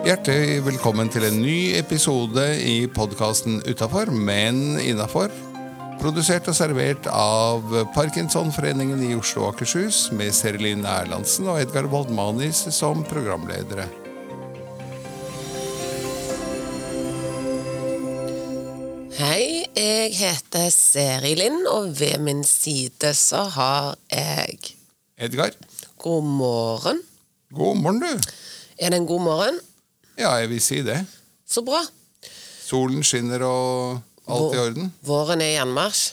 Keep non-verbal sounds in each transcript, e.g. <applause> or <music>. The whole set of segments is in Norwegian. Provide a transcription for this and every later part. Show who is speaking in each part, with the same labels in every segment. Speaker 1: Hjertelig velkommen til en ny episode i podkasten Utafor, men innafor. Produsert og servert av Parkinsonforeningen i Oslo og Akershus, med Serelin Erlandsen og Edgar Woldmanis som programledere.
Speaker 2: Hei, jeg heter Seri Lind, og ved min side så har jeg
Speaker 1: Edgar,
Speaker 2: God morgen.
Speaker 1: god morgen, du.
Speaker 2: Er det en god morgen?
Speaker 1: Ja, jeg vil si det.
Speaker 2: Så bra.
Speaker 1: Solen skinner og alt i
Speaker 2: Vå-
Speaker 1: orden.
Speaker 2: Våren er i anmarsj,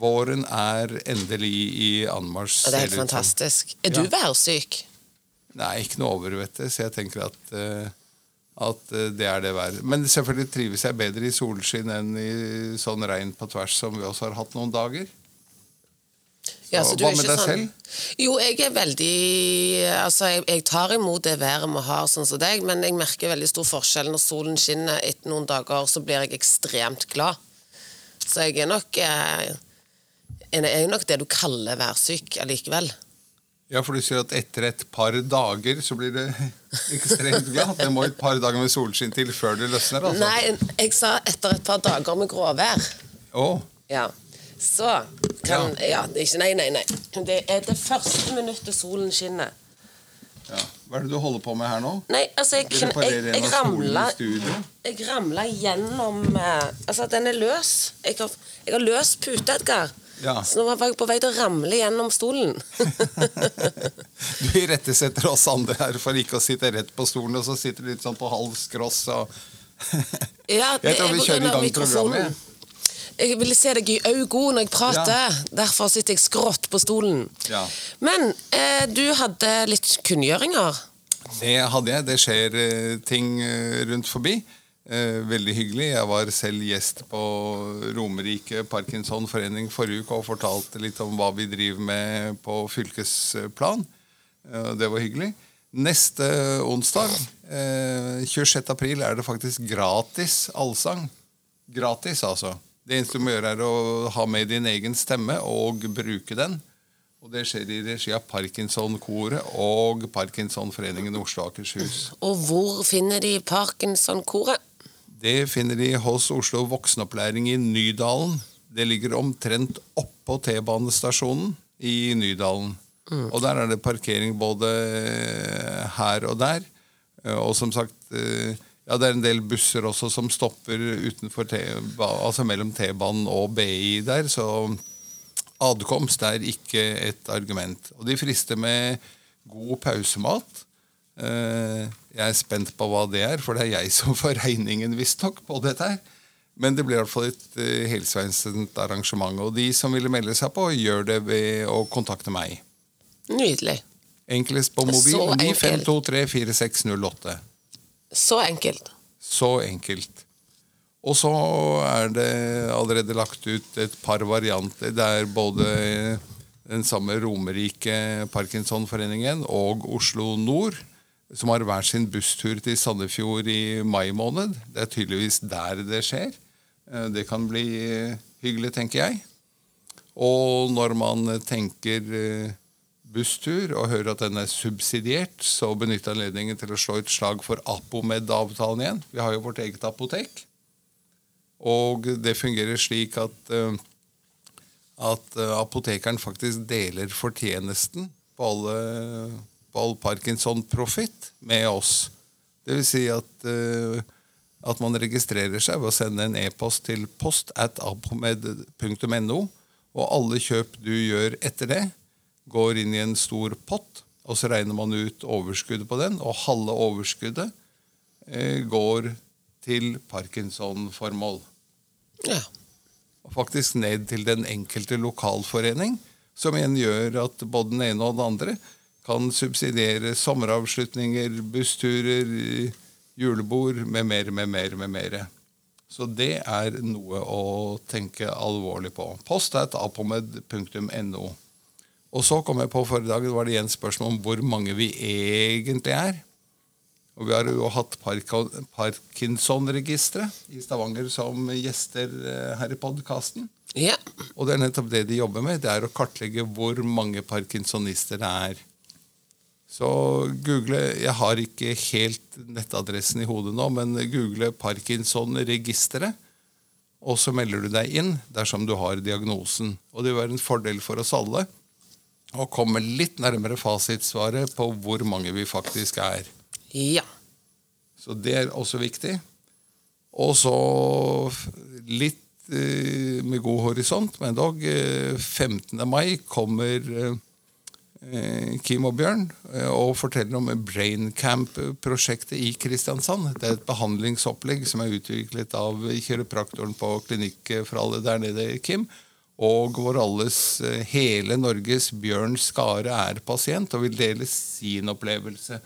Speaker 1: Våren er endelig i anmarsj.
Speaker 2: og
Speaker 1: ser
Speaker 2: det er helt
Speaker 1: det ut som.
Speaker 2: fantastisk. Er
Speaker 1: Ja.
Speaker 2: du værsyk?
Speaker 1: Nei, ikke noe over, vet du. Så jeg tenker at, eh, at eh, det er det været. Men selvfølgelig trives jeg bedre i solskinn enn i sånn regn på tvers som vi også har hatt noen dager.
Speaker 2: Ja,
Speaker 1: Så
Speaker 2: så du
Speaker 1: hva
Speaker 2: er
Speaker 1: med
Speaker 2: ikke sånn-
Speaker 1: deg selv?
Speaker 2: Jo, jeg er veldig Altså, jeg, jeg tar imot det været vi har, sånn som deg, men jeg merker veldig stor forskjell når solen skinner. Etter noen dager så blir jeg ekstremt glad. Så jeg er nok eh, Jeg er nok det du kaller værsyk allikevel.
Speaker 1: Ja, for du sier at etter et par dager så blir det <laughs> ekstremt glatt. Det må et par dager med solskinn til før det løsner, altså.
Speaker 2: Nei, jeg sa etter et par dager med gråvær.
Speaker 1: Å,
Speaker 2: Ja. Så kan Ja, det er ikke Nei, nei, nei. Det er det første minuttet solen skinner.
Speaker 1: ja. Hva er det du holder på med her nå?
Speaker 2: Nei, altså, jeg,
Speaker 1: Vil du
Speaker 2: kn-
Speaker 1: parere
Speaker 2: jeg,
Speaker 1: en
Speaker 2: jeg
Speaker 1: av stolene i
Speaker 2: ramla
Speaker 1: studio?
Speaker 2: Jeg ramla gjennom eh, Altså, den er løs. Jeg har, jeg har løs pute, Edgar. <laughs>
Speaker 1: Ja. <laughs>
Speaker 2: Så nå var jeg på vei til å ramle gjennom stolen.
Speaker 1: Du irettesetter oss andre her for ikke å sitte rett på stolen, og så sitter du litt sånn på halv skross og
Speaker 2: Ja, det
Speaker 1: Jeg tror
Speaker 2: er
Speaker 1: vi
Speaker 2: på
Speaker 1: kjører
Speaker 2: grunn
Speaker 1: i
Speaker 2: av
Speaker 1: gang programmet.
Speaker 2: mikrofonen. Jeg ville se deg i øynene når jeg prater. Derfor sitter jeg skrått på stolen.
Speaker 1: Ja.
Speaker 2: Men eh, du hadde litt kunngjøringer.
Speaker 1: Det hadde jeg. Det skjer eh, ting eh, rundt forbi. Eh, veldig hyggelig. Jeg var selv gjest på Romerike Parkinsonforening forrige uke og fortalte litt om hva vi driver med på fylkesplan. Eh, det var hyggelig. Neste onsdag, eh, 26. april, er det faktisk gratis allsang. Gratis, altså. Det eneste du må gjøre, er å ha med din egen stemme og bruke den. Og det skjer i regi av Parkinson-koret og Parkinsonforeningen Oslo og Akershus.
Speaker 2: Og hvor finner de Parkinson-koret?
Speaker 1: Det finner de hos Oslo voksenopplæring i Nydalen. Det ligger omtrent oppå T-banestasjonen i Nydalen. Og der er det parkering både eh, her og der. Eh, Og som sagt, eh, ja, det er en del busser også som stopper utenfor T altså mellom T-banen og BI der, så adkomst er ikke et argument. Og de frister med god pausemat. Eh, Jeg er spent på hva det er, for det er jeg som <laughs> får regningen visstnok på dette her. Men det blir i hvert fall et eh, helsveisent arrangement. Og de som ville melde seg på, gjør det ved å kontakte meg.
Speaker 2: Nydelig.
Speaker 1: Enklest på
Speaker 2: Så
Speaker 1: mobil
Speaker 2: enkelt.
Speaker 1: 95234608.
Speaker 2: Så enkelt.
Speaker 1: Så enkelt. Og så er det allerede lagt ut et par varianter. Det er både den samme Romerike Parkinsonforeningen og Oslo Nord som har hver sin busstur til Sandefjord i mai måned. Det er tydeligvis der det skjer. Eh, Det kan bli eh, hyggelig, tenker jeg. Og når man tenker eh, busstur og hører at den er subsidiert, så benytter jeg anledningen til å slå et slag for Apomed-avtalen igjen. Vi har jo vårt eget apotek. Og det fungerer slik at, eh, at eh, apotekeren faktisk deler fortjenesten på alle, på all Parkinson-profitt med oss. Det vil si at, eh, at man registrerer seg ved å sende en e-post til post at apomed.no, og alle kjøp du gjør etter det, går inn i en stor pott, og så regner man ut overskuddet på den, og halve overskuddet eh, går til Parkinson-formål
Speaker 2: Ja.
Speaker 1: og faktisk ned til den enkelte lokalforening, som igjen gjør at både den ene og den andre kan subsidiere sommeravslutninger, bussturer, julebord med mer, med mer, med mer. Så det er noe å tenke alvorlig på. Post at apomed.no. Og så kom jeg på forrige dag, det var det igjen spørsmål om hvor mange vi egentlig er. Og vi har jo hatt Parko- Parkinson-registeret i Stavanger som gjester eh, her i podkasten.
Speaker 2: ja.
Speaker 1: Og det er nettopp det de jobber med. Det er å kartlegge hvor mange parkinsonister det er. Så google Jeg har ikke helt nettadressen i hodet nå, men google Parkinson-registeret. Og så melder du deg inn dersom du har diagnosen. Og det vil være en fordel for oss alle å komme litt nærmere fasitsvaret på hvor mange vi faktisk er.
Speaker 2: Ja.
Speaker 1: Så det er også viktig. Og så f- litt eh, med god horisont, men dog. eh, 15. mai kommer eh, eh, Kim og Bjørn eh, og forteller om Brain Camp-prosjektet i Kristiansand. Det er et behandlingsopplegg som er utviklet av kiropraktoren på Klinikk eh, for alle der nede, Kim. Og hvor alles, eh, hele Norges Bjørn Skare er pasient og vil dele sin opplevelse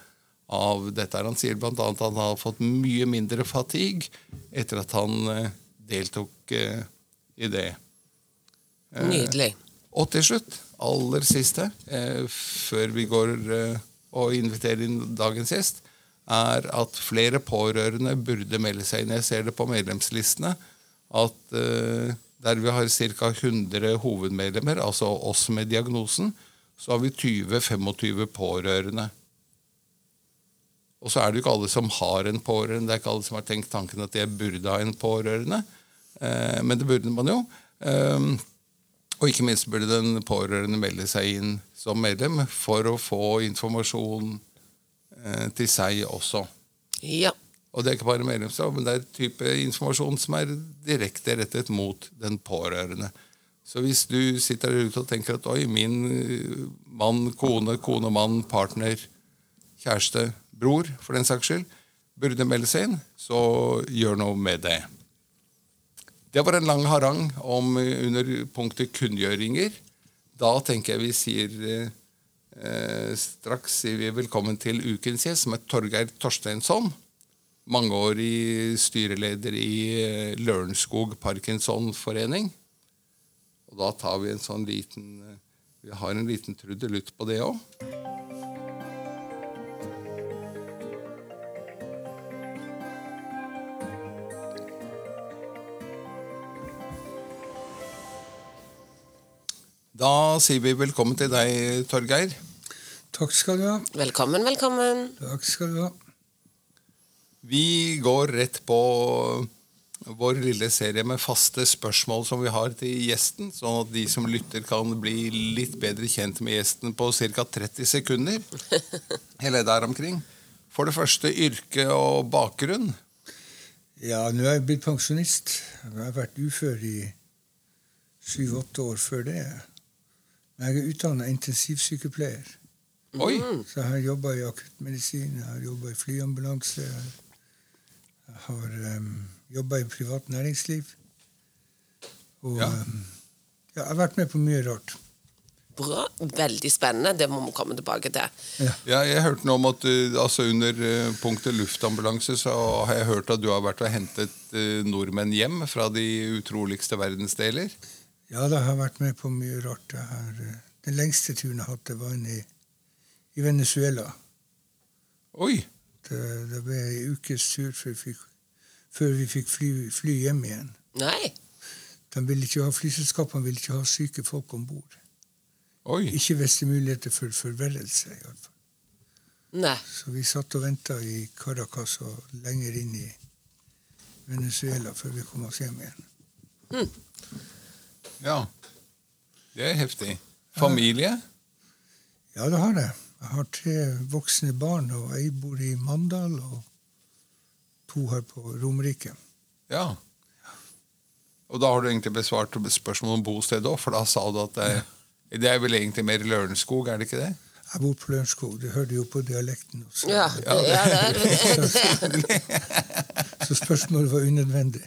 Speaker 1: av dette. her. Han sier bl.a. at han har fått mye mindre fatigue etter at han eh, deltok eh, i det.
Speaker 2: Nydelig.
Speaker 1: Og til slutt, aller siste, eh, før vi går eh, og inviterer inn dagens gjest, er at flere pårørende burde melde seg inn. Jeg ser det på medlemslistene at eh, der vi har ca. 100 hovedmedlemmer, altså oss med diagnosen, så har vi 20-25 pårørende. Og så er det jo ikke alle som har en pårørende. Det er ikke alle som har tenkt tanken at jeg burde ha en pårørende. Eh, men det burde man jo. Eh, og ikke minst burde den pårørende melde seg inn som medlem for å få informasjon eh, til seg også.
Speaker 2: Ja.
Speaker 1: Og det er ikke bare medlemskap, men det er type informasjon som er direkte rettet mot den pårørende. Så hvis du sitter der ute og tenker at oi, min eh, mann, kone, kone, mann, partner, kjæreste, bror, for den saks skyld, burde melde seg inn, så gjør noe med det. Det var en lang harang om, eh, under punktet kunngjøringer. Da tenker jeg vi sier eh, eh, straks sier vi velkommen til ukens gjest, som er Torgeir Torsteinsson mangeårig styreleder i eh, Lørenskog Parkinsonforening. Og da tar vi en sånn liten eh, Vi har en liten trudelutt på det òg. Da sier vi velkommen til deg, Torgeir.
Speaker 3: Takk skal du ha.
Speaker 2: Velkommen, velkommen.
Speaker 3: Takk skal du ha.
Speaker 1: Vi går rett på vår lille serie med faste spørsmål som vi har til gjesten, sånn at de som lytter kan bli litt bedre kjent med gjesten på ca. 30 sekunder. Eller der omkring. For det første yrke og bakgrunn.
Speaker 3: Ja, nå er jeg blitt pensjonist. Jeg har vært ufør i syv-åtte år før det. Men jeg er utdanna intensivsykepleier.
Speaker 1: Oi!
Speaker 3: Så jeg har jobba i akuttmedisin, jeg har jobba i flyambulanse, jeg har um, jobba i privat næringsliv. Og
Speaker 1: Ja.
Speaker 3: em, ja, jeg har vært med på mye rart.
Speaker 2: Bra. Veldig spennende. Det må vi komme tilbake til.
Speaker 1: Ja, jeg hørte noe om at eh, altså under eh, punktet luftambulanse så har jeg hørt at du har vært og hentet eh, nordmenn hjem fra de utroligste verdensdeler.
Speaker 3: Ja, da har jeg vært med på mye rart. Jeg har, eh, den lengste turen jeg har hatt, det var en i, i Venezuela.
Speaker 1: Oi!
Speaker 3: Det, det ble ei ukes tur før vi fikk, før vi fikk fly, fly hjem igjen.
Speaker 2: Nei.
Speaker 3: De ville ikke ha Flyselskapene ville ikke ha syke folk om bord.
Speaker 1: Oi!
Speaker 3: Ikke hvis det er muligheter for forverrelse. i alle fall.
Speaker 2: Nei.
Speaker 3: Så vi satt og venta i Caracas og lenger inn i Venezuela før vi kom oss hjem igjen.
Speaker 1: Ja. Det er heftig. Familie?
Speaker 3: Ja, det har jeg. Jeg har tre voksne barn, og ei bor i Mandal, og to her på Romerike.
Speaker 1: Ja. Og da har du egentlig besvart spørsmålet om bosted òg, for da sa du at det, det er vel egentlig mer Lørenskog, er det ikke det?
Speaker 3: Jeg bor på Lørenskog. Du hører jo på dialekten også.
Speaker 2: Ja, det, <laughs> ja, det, <laughs> er-
Speaker 3: Så spørsmålet var unødvendig.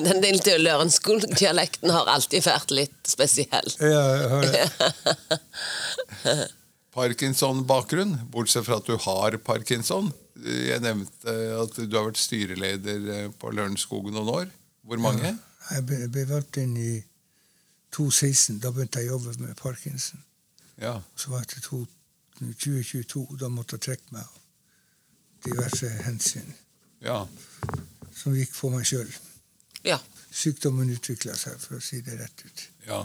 Speaker 2: den lille Lørenskog-dialekten har alltid vært litt spesiell.
Speaker 3: Ja, jeg har det.
Speaker 1: Parkinson-bakgrunn, bortsett fra at du har parkinson. Jeg nevnte at du har vært styreleder eh, på Lørenskog noen år. Hvor mange?
Speaker 3: Jeg ble, ble valgt inn i 2016. Da begynte jeg å jobbe med Parkinson.
Speaker 1: Ja.
Speaker 3: Så var jeg til to- 2022. Da måtte jeg trekke meg av diverse hensyn
Speaker 1: ja.
Speaker 3: som gikk på meg sjøl.
Speaker 2: Ja.
Speaker 3: Sykdommen utvikla seg, for å si det rett ut.
Speaker 1: ja.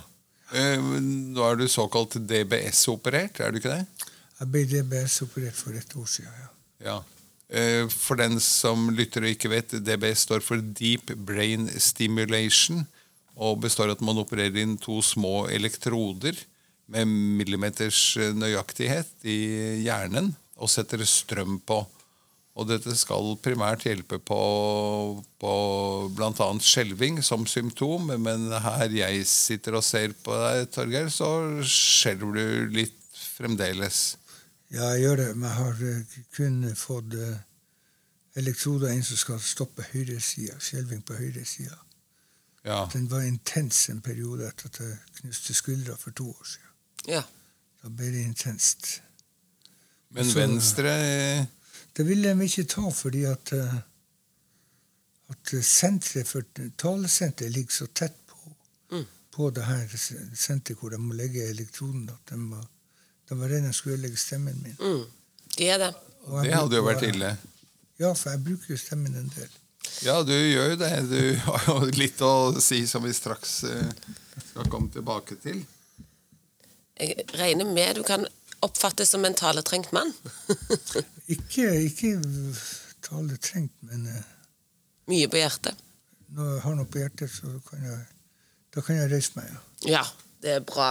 Speaker 1: Eh, men Nå er du såkalt DBS-operert, er du ikke det?
Speaker 3: Jeg ble DBS-operert for et år siden. Ja.
Speaker 1: Ja. Eh, For den som lytter og ikke vet, DB står for Deep Brain Stimulation og består av at man opererer inn to små elektroder med millimeters eh, nøyaktighet i hjernen og setter strøm på. Og dette skal primært hjelpe på, på bl.a. skjelving som symptom, men her jeg sitter og ser på deg, Torgeir, så skjelver du litt fremdeles.
Speaker 3: Ja, jeg gjør det, men jeg har eh, kun fått eh, elektroder inn som skal stoppe høyresida, skjelving på høyresida.
Speaker 1: Ja.
Speaker 3: Den var intens en periode etter at jeg knuste skuldra for to år siden.
Speaker 2: Ja.
Speaker 3: Da ble det intenst.
Speaker 1: Men
Speaker 3: Så-
Speaker 1: venstre eh,
Speaker 3: Det ville de ikke ta fordi at eh, at senteret for talesenteret ligger så tett på,
Speaker 2: Mm.
Speaker 3: på det her s- senteret hvor de må legge elektroden. At de, må, de var redd de skulle ødelegge stemmen min.
Speaker 2: Mm. De er det.
Speaker 3: Og jeg
Speaker 1: Det hadde jo
Speaker 3: bruker-
Speaker 1: vært ille.
Speaker 3: Ja, for jeg bruker jo stemmen en del.
Speaker 1: Ja, du gjør jo det. Du <laughs> har jo litt å si som vi straks eh, skal komme tilbake til.
Speaker 2: Jeg regner med du kan oppfattes som en taletrengt mann.
Speaker 3: Ikke, ikke tale trengt, men eh,
Speaker 2: Mye på hjertet.
Speaker 3: når jeg har noe på hjertet, så kan jeg, da kan jeg reise meg. Ja.
Speaker 2: Ja, det er bra.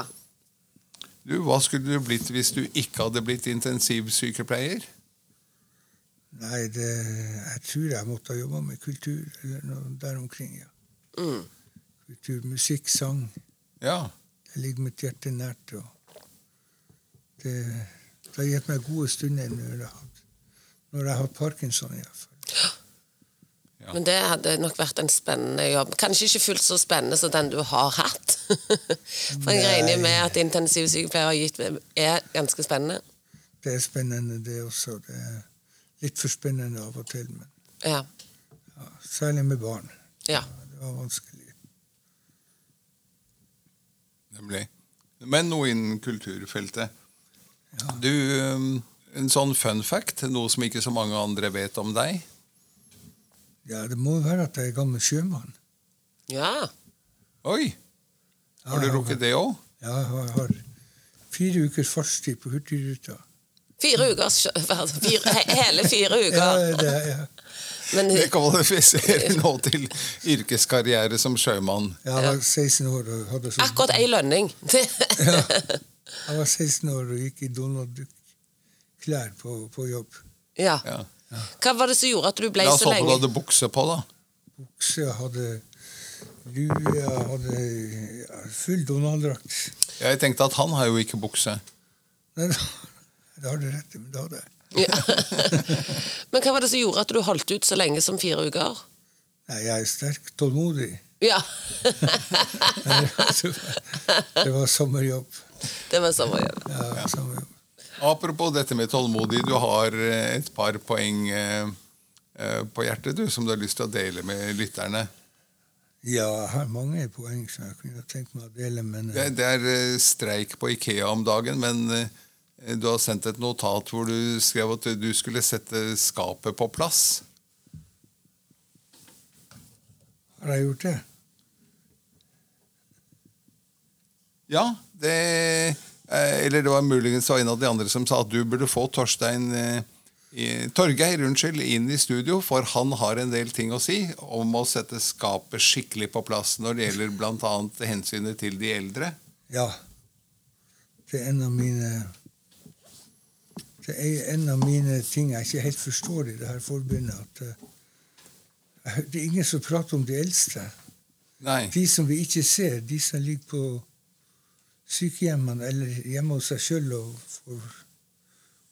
Speaker 1: Du, Hva skulle du blitt hvis du ikke hadde blitt intensivsykepleier?
Speaker 3: Nei, det, jeg tror jeg måtte ha jobba med kultur eller noe der omkring. ja.
Speaker 2: Mm.
Speaker 3: Kultur, musikk, sang.
Speaker 1: Ja.
Speaker 3: Det ligger mitt hjerte nært. Og det, det har gitt meg gode stunder når jeg har hatt, når jeg har hatt parkinson. i hvert fall.
Speaker 1: Ja.
Speaker 2: Men det hadde nok vært en spennende jobb. Kanskje ikke fullt så spennende som den du har hatt. <laughs> For jeg
Speaker 3: Nei.
Speaker 2: regner med at intensivsykepleier har gitt er ganske spennende.
Speaker 3: Det er spennende, det også. Det er litt for spennende av og til, men
Speaker 2: Ja.
Speaker 3: ja, særlig med barn.
Speaker 2: ja.
Speaker 3: Det var vanskelig.
Speaker 1: Nemlig. Men noe innen kulturfeltet. Du, eh, en sånn fun fact, noe som ikke så mange andre vet om deg.
Speaker 3: Ja, Det må være at jeg er gammel sjømann.
Speaker 2: ja.
Speaker 1: Oi! Har du
Speaker 3: Ja,
Speaker 1: rukket det òg?
Speaker 3: Ja, jeg har, har fire ukers fartstid på Hurtigruta.
Speaker 2: Fire uker <laughs> altså, fire, he- Hele
Speaker 1: <laughs>
Speaker 2: fire
Speaker 3: Ja,
Speaker 2: uker.
Speaker 3: det er jeg.
Speaker 2: Men
Speaker 1: Det <laughs> kvalifiserer nå til yrkeskarriere som sjømann.
Speaker 3: Jeg var 16 år og hadde så
Speaker 2: akkurat ei lønning. <laughs>
Speaker 3: Jeg var 16 år og gikk i Donald Duck-klær på, på jobb.
Speaker 2: Ja.
Speaker 1: Ja.
Speaker 2: Hva var det som gjorde at du ble
Speaker 1: La oss
Speaker 2: så
Speaker 1: håpe du
Speaker 2: lenge?
Speaker 1: hadde bukse på, da.
Speaker 3: Bukse, jeg hadde lue, jeg hadde ja, full Donald-drakt.
Speaker 1: Jeg tenkte at han har jo ikke bukse.
Speaker 3: <laughs> Nei, da, da har du rett, i, men da hadde jeg
Speaker 2: Ja. <laughs> Men hva var det som gjorde at du holdt ut så lenge som fire uker?
Speaker 3: Nei, jeg er sterk, tålmodig.
Speaker 2: Ja,
Speaker 3: Det var sommerjobb.
Speaker 2: det var sommerjobb. <laughs>
Speaker 3: Ja, sommerjobb.
Speaker 1: Apropos dette med tålmodig, du har eh, et par poeng eh, eh, på hjertet du, som du har lyst til å dele med lytterne.
Speaker 3: ja jeg har mange poeng som jeg kunne tenkt meg å dele, men
Speaker 1: Det, det er eh, streik på Ikea om dagen, men eh, du har sendt et notat hvor du skrev at du skulle sette skapet på plass.
Speaker 3: har jeg gjort det?
Speaker 1: Ja, det eh, Eller det var muligens det var en av de andre som sa at du burde få Torstein eh, i- Torgeir, unnskyld, inn i studio, for han har en del ting å si om å sette skapet skikkelig på plass når det gjelder bl.a. hensynet til de eldre.
Speaker 3: Ja. Det er en av mine Det er en av mine ting jeg ikke helt forstår i det her forbundet. at eh, jeg hø- Det er ingen som prater om de eldste.
Speaker 1: Nei.
Speaker 3: De som vi ikke ser, de som ligger på sykehjemmene eller hjemme hos seg sjøl og, får-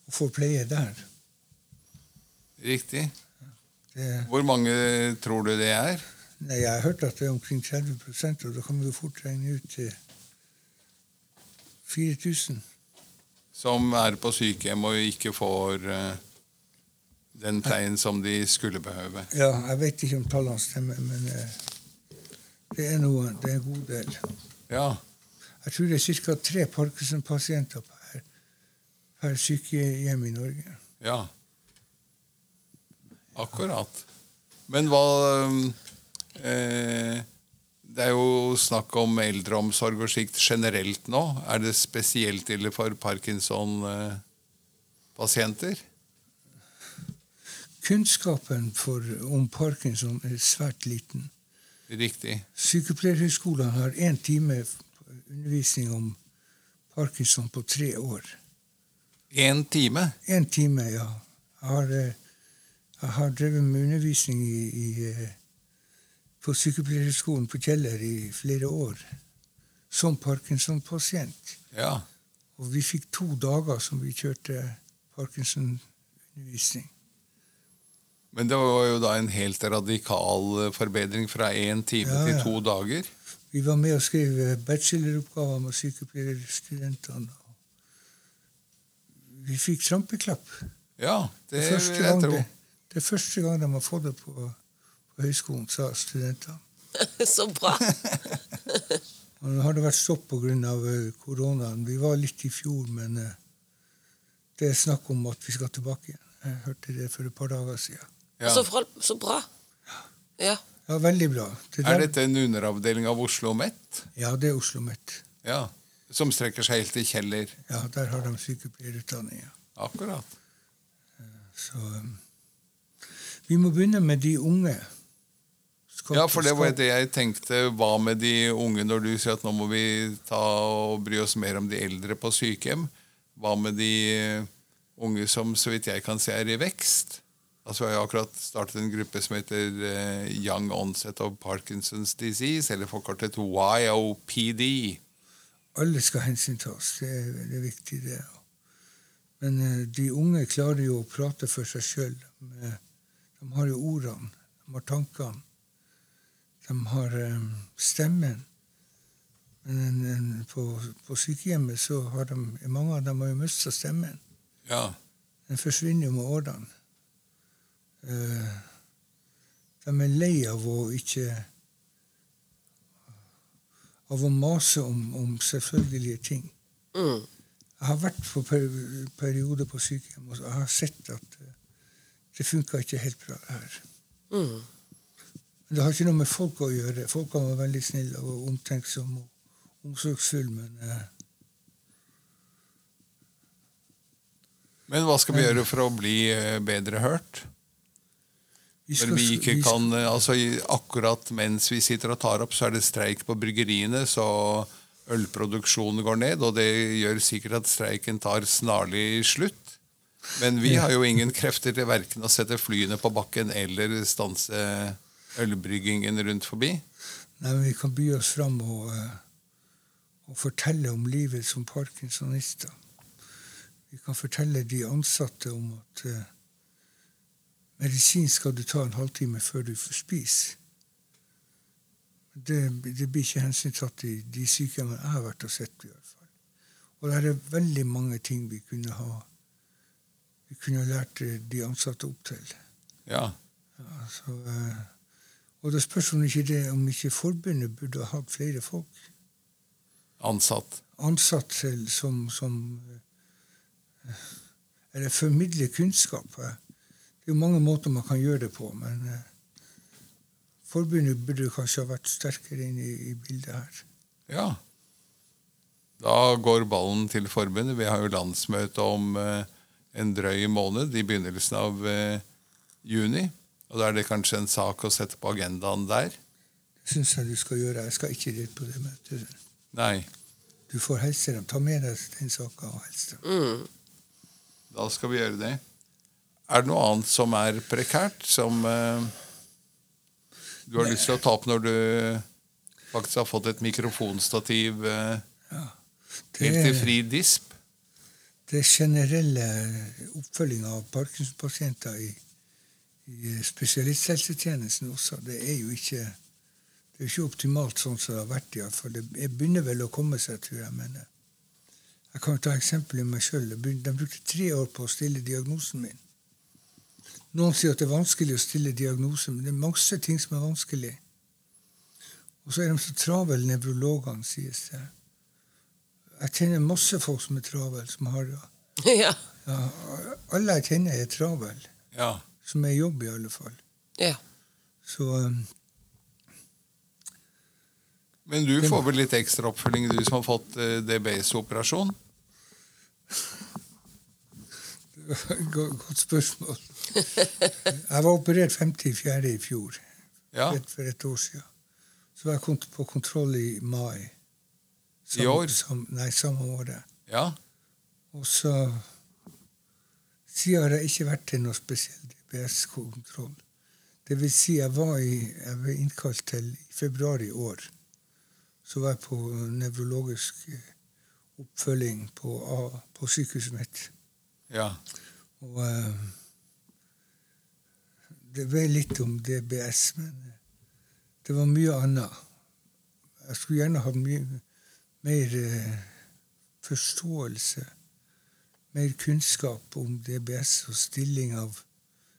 Speaker 3: og får pleie der.
Speaker 1: Riktig.
Speaker 3: Det,
Speaker 1: Hvor mange tror du det er?
Speaker 3: nei, jeg har hørt at det er omkring 30 og da kan vi jo fort regne ut til 4000.
Speaker 1: Som er på sykehjem og ikke får eh, den pleien som de skulle behøve.
Speaker 3: Ja, jeg vet ikke om tallene stemmer, men eh, det er noe, det er en god del.
Speaker 1: Ja.
Speaker 3: Jeg tror det er ca. tre Parkinson-pasienter per, per sykehjem i Norge.
Speaker 1: Ja. Akkurat. Men hva um, eh, Det er jo snakk om eldreomsorg og slikt generelt nå. Er det spesielt ille for parkinson-pasienter? eh, pasienter?
Speaker 3: Kunnskapen for, om parkinson er svært liten.
Speaker 1: Riktig.
Speaker 3: Sykepleierhøgskolen har én time undervisning om parkinson på tre år.
Speaker 1: Én time?
Speaker 3: Én time, ja. Jeg har, eh, jeg har drevet med undervisning i, i, eh, på sykepleierhøgskolen på Kjeller i flere år som parkinson-pasient.
Speaker 1: Ja.
Speaker 3: Og vi fikk to dager som vi kjørte parkinson-undervisning.
Speaker 1: Men det var jo da en helt radikal eh, forbedring fra én time
Speaker 3: Ja,
Speaker 1: til
Speaker 3: ja.
Speaker 1: to dager.
Speaker 3: Vi var med og skrev eh, bacheloroppgaver med sykepleierstudentene. Vi fikk trampeklapp.
Speaker 1: Ja, det
Speaker 3: Det er
Speaker 1: vil jeg
Speaker 3: første gang,
Speaker 1: tro.
Speaker 3: det, det er første gang de har fått det på, på høyskolen, sa studentene.
Speaker 2: Så bra.
Speaker 3: Og Nå har det vært stopp pga. eh, koronaen. Vi var litt i fjor, men eh, det er snakk om at vi skal tilbake igjen. Jeg hørte det for et par dager siden.
Speaker 1: Ja.
Speaker 3: Altså,
Speaker 2: Så, fra, så bra. Ja.
Speaker 3: Ja, veldig bra. Det
Speaker 1: Er
Speaker 3: der-
Speaker 1: dette en underavdeling av Oslo Met?
Speaker 3: Ja, det er Oslo Met.
Speaker 1: Ja. Som strekker seg helt til Kjeller.
Speaker 3: Ja, der har de sykepleierutdanning. Ja.
Speaker 1: Akkurat.
Speaker 3: Så um, vi må begynne med de unge. Skal-
Speaker 1: Ja, for det var
Speaker 3: skal-
Speaker 1: det jeg tenkte. Hva med de unge når du sier at nå må vi ta og bry oss mer om de eldre på sykehjem? Hva med de eh, unge som, så vidt jeg kan se, er i vekst? Altså, Vi har jo akkurat startet en gruppe som heter eh, Young Onset of Parkinson's Disease, eller forkortet YOPD.
Speaker 3: Alle skal hensyntas. Det er, det er viktig, det. Men eh, de unge klarer jo å prate for seg sjøl. De, de har jo ordene, de har tankene. De har eh, stemmen. Men en, en, på, på sykehjemmet så har de, mange av dem har jo mista stemmen.
Speaker 1: Ja.
Speaker 3: Den forsvinner jo med årene. Eh, De er lei av å ikke Av å mase om, om selvfølgelige ting.
Speaker 2: Mm.
Speaker 3: Jeg har vært på per- perioder på sykehjem og jeg har sett at eh, det funka ikke helt bra her.
Speaker 2: Mm.
Speaker 3: Men det har ikke noe med folk å gjøre. Folka var veldig snille og omtenksomme og omsorgsfulle, men eh,
Speaker 1: Men hva skal vi gjøre for å bli eh, bedre hørt?
Speaker 3: vi
Speaker 1: Når vi ikke
Speaker 3: vi skal-
Speaker 1: kan, eh, altså i- Akkurat mens vi sitter og tar opp, så er det streik på bryggeriene, så ølproduksjonen går ned, og det gjør sikkert at streiken tar snarlig slutt. Men vi har jo ingen krefter til verken å sette flyene på bakken eller stanse ølbryggingen rundt forbi.
Speaker 3: Nei, men vi kan by oss fram og, eh, og fortelle om livet som parkinsonister. Vi kan fortelle de ansatte om at eh, medisin skal du ta en halvtime før du får spise. Det, det blir ikke hensyntatt i de sykehjemmene jeg har vært og sett. i hvert fall. Og det er veldig mange ting vi kunne ha vi kunne ha lært eh, de ansatte opp til.
Speaker 1: Ja,
Speaker 3: Ja, så, eh, og det spørs om ikke, det, om ikke forbundet burde ha hatt flere folk
Speaker 1: Ansatt.
Speaker 3: ansatt til, som, som eh, Eller formidle kunnskap. eh. Det er jo mange måter man kan gjøre det på, men eh, forbundet burde kanskje ha vært sterkere inn i, i bildet her.
Speaker 1: Ja. Da går ballen til forbundet. Vi har jo landsmøte om eh, en drøy måned, i begynnelsen av eh, juni. Og da er det kanskje en sak å sette på agendaen der?
Speaker 3: Det syns jeg du skal gjøre. Jeg skal ikke dit på det møtet.
Speaker 1: Nei.
Speaker 3: Du får helse dem. Ta med deg den saka og helse dem.
Speaker 2: Mm.
Speaker 1: Da skal vi gjøre det. Er det noe annet som er prekært, som eh, du har lyst til å ta opp når du faktisk har fått et mikrofonstativ eh, helt til fri disp?
Speaker 3: det generelle oppfølginga av parkinson-pasienter i, i spesialisthelsetjenesten også, det er jo ikke det er jo ikke optimalt sånn som det har vært. i hvert fall. Det jeg begynner vel å komme seg, tror jeg. Men eh, jeg kan jo ta eksempel i meg sjøl. De brukte tre år på å stille diagnosen min. Noen sier at det er vanskelig å stille diagnose, men det er masse ting som er vanskelig. Og så er de så travel, nevrologene, sies det. Jeg kjenner masse folk som er travel, som har det.
Speaker 2: <laughs> Ja.
Speaker 3: Ja, alle jeg kjenner er travel,
Speaker 1: Ja.
Speaker 3: som er i jobb i alle fall.
Speaker 2: ja.
Speaker 3: Så um, <laughs>
Speaker 1: Men du får vel litt ekstra oppfølging, du som har fått eh, DBS-operasjon?
Speaker 3: Godt godt spørsmål. Jeg var operert 54. i fjor,
Speaker 1: Ja,
Speaker 3: rett for et år siden. Så var jeg kont- på kontroll i mai.
Speaker 1: I år?
Speaker 3: Sam, nei, samme året.
Speaker 1: ja.
Speaker 3: Og så Siden har jeg ikke vært til noe spesiell DPS-kontroll. Det vil si, jeg var i, jeg ble innkalt til i februar i år. Så var jeg på nevrologisk eh, oppfølging på, A- på sykehuset mitt.
Speaker 1: ja.
Speaker 3: Og eh, det ble litt om DBS, men eh, det var mye annet. Jeg skulle gjerne ha mye mer eh, forståelse, mer kunnskap om DBS og stilling av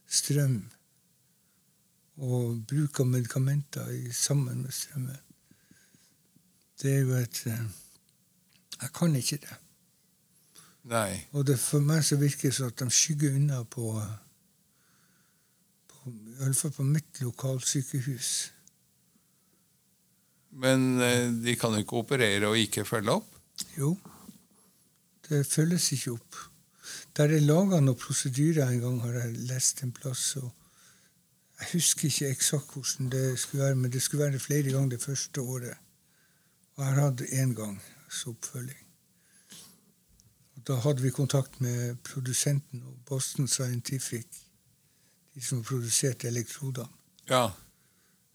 Speaker 3: strøm. Og bruk av medikamenter i, sammen med strømmen. Det er jo et eh, Jeg kan ikke det.
Speaker 1: Nei.
Speaker 3: Og det for meg så virker det som at de skygger unna på, på i alle fall på mitt lokalsykehus.
Speaker 1: Men eh, de kan jo ikke operere og ikke følge opp.
Speaker 3: Jo, det følges ikke opp. Der er laga noen prosedyrer en gang, har jeg lest en plass. og Jeg husker ikke eksakt hvordan det skulle være, men det skulle være flere ganger det første året. Og jeg har hatt én gang som oppfølging. Og da hadde vi kontakt med produsenten og Boston Scientific, de som produserte elektrodene.
Speaker 1: Ja.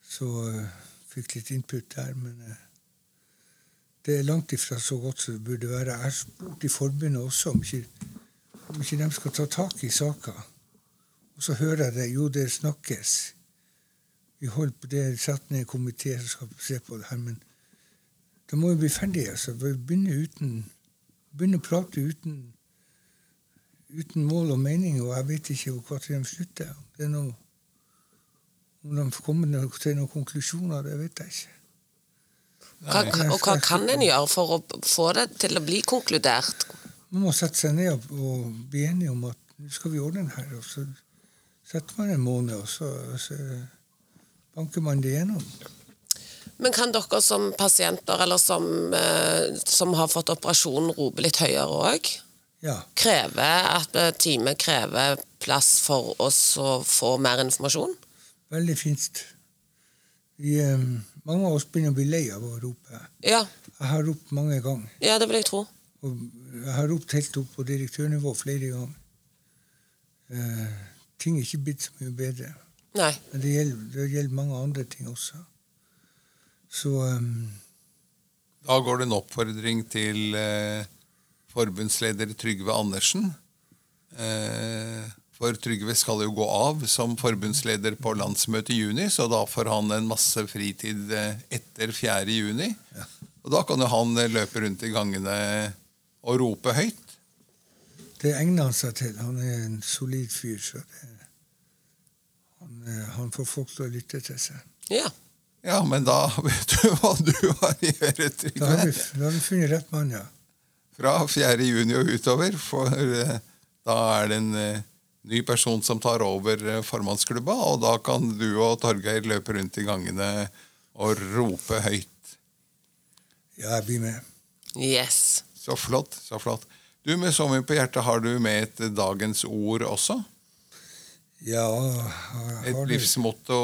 Speaker 3: Så eh, fikk litt input der, men eh, det er langt ifra så godt som det burde være. Jeg har spurt i forbundet også om ikke, om ikke de skal ta tak i saka. Og så hører jeg det. Jo, det snakkes. Vi holder på det, satt ned en komité som skal se på det her, men da må vi bli ferdige. altså. Vi begynner uten, begynner å prate uten, uten mål og mening, og jeg vet ikke hvor når de slutter. Det er noe om de kommer no- til noen konklusjoner, det vet jeg ikke.
Speaker 2: Hva,
Speaker 1: Nei.
Speaker 2: og hva kan en gjøre for å få det til å bli konkludert?
Speaker 3: Man må sette seg ned og, og bli enige om at nå skal vi ordne det her. Og så setter man en måned, og så, og så banker man det gjennom.
Speaker 2: Men kan dere som pasienter, eller som, eh, som har fått operasjonen, rope litt høyere òg?
Speaker 3: Ja.
Speaker 2: Kreve at eh, time krever plass for oss å få mer informasjon?
Speaker 3: Veldig fint. Vi, eh, mange av oss begynner å bli lei av å rope.
Speaker 2: Ja,
Speaker 3: Jeg har ropt mange ganger.
Speaker 2: ja det vil jeg tro.
Speaker 3: Og jeg har ropt helt opp på direktørnivå flere ganger. Eh, ting er ikke blitt så mye bedre.
Speaker 2: Nei.
Speaker 3: Men det gjelder, det gjelder mange andre ting også. Så eh,
Speaker 1: Da går det en oppfordring til eh, forbundsleder Trygve Andersen. Eh, for Trygve skal jo gå av som forbundsleder på landsmøtet i juni, så da får han en masse fritid eh, etter 4. juni. Og da kan jo han eh, løpe rundt i gangene og rope høyt.
Speaker 3: Det egner han seg til. Han er en solid fyr. så det, han, eh, han får folk til å lytte til seg.
Speaker 2: Ja.
Speaker 1: Ja, men da <laughs> vet du hva du har i øret,
Speaker 3: Da har vi,
Speaker 1: Trygve.
Speaker 3: da har vi funnet rett mann, ja.
Speaker 1: Fra 4. juni og utover, for eh, da er det en eh, ny person som tar over eh, formannsklubba, og da kan du og Torgeir løpe rundt i gangene og rope høyt.
Speaker 3: Ja, jeg blir med.
Speaker 2: Yes.
Speaker 1: Så flott, så flott. Du, med så mye på hjertet, har du med et eh, dagens ord også?
Speaker 3: Ja, har,
Speaker 1: Et
Speaker 3: har du-
Speaker 1: livsmotto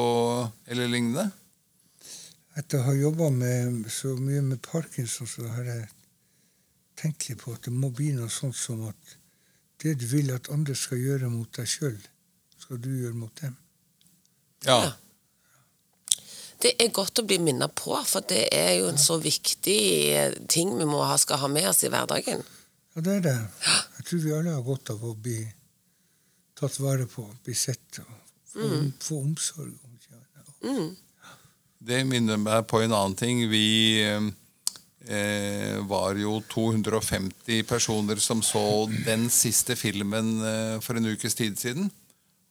Speaker 1: eller lignende?
Speaker 3: Etter å ha jobba så mye med parkinson, så har jeg tenkt litt på at det må bli noe sånt som at det du vil at andre skal gjøre mot deg sjøl, skal du gjøre mot dem.
Speaker 1: Ja.
Speaker 2: Ja. Det er godt å bli minnet på, for det er jo en så viktig eh, ting vi må ha, skal ha med oss i hverdagen.
Speaker 3: Ja, det er det. Jeg tror vi alle har godt av å bli tatt vare på, bli sett og få, få omsorg. om ikke annet.
Speaker 2: Mm.
Speaker 1: Det minner meg på en annen ting. Vi eh, var jo 250 personer som så den siste filmen eh, for en ukes tid siden.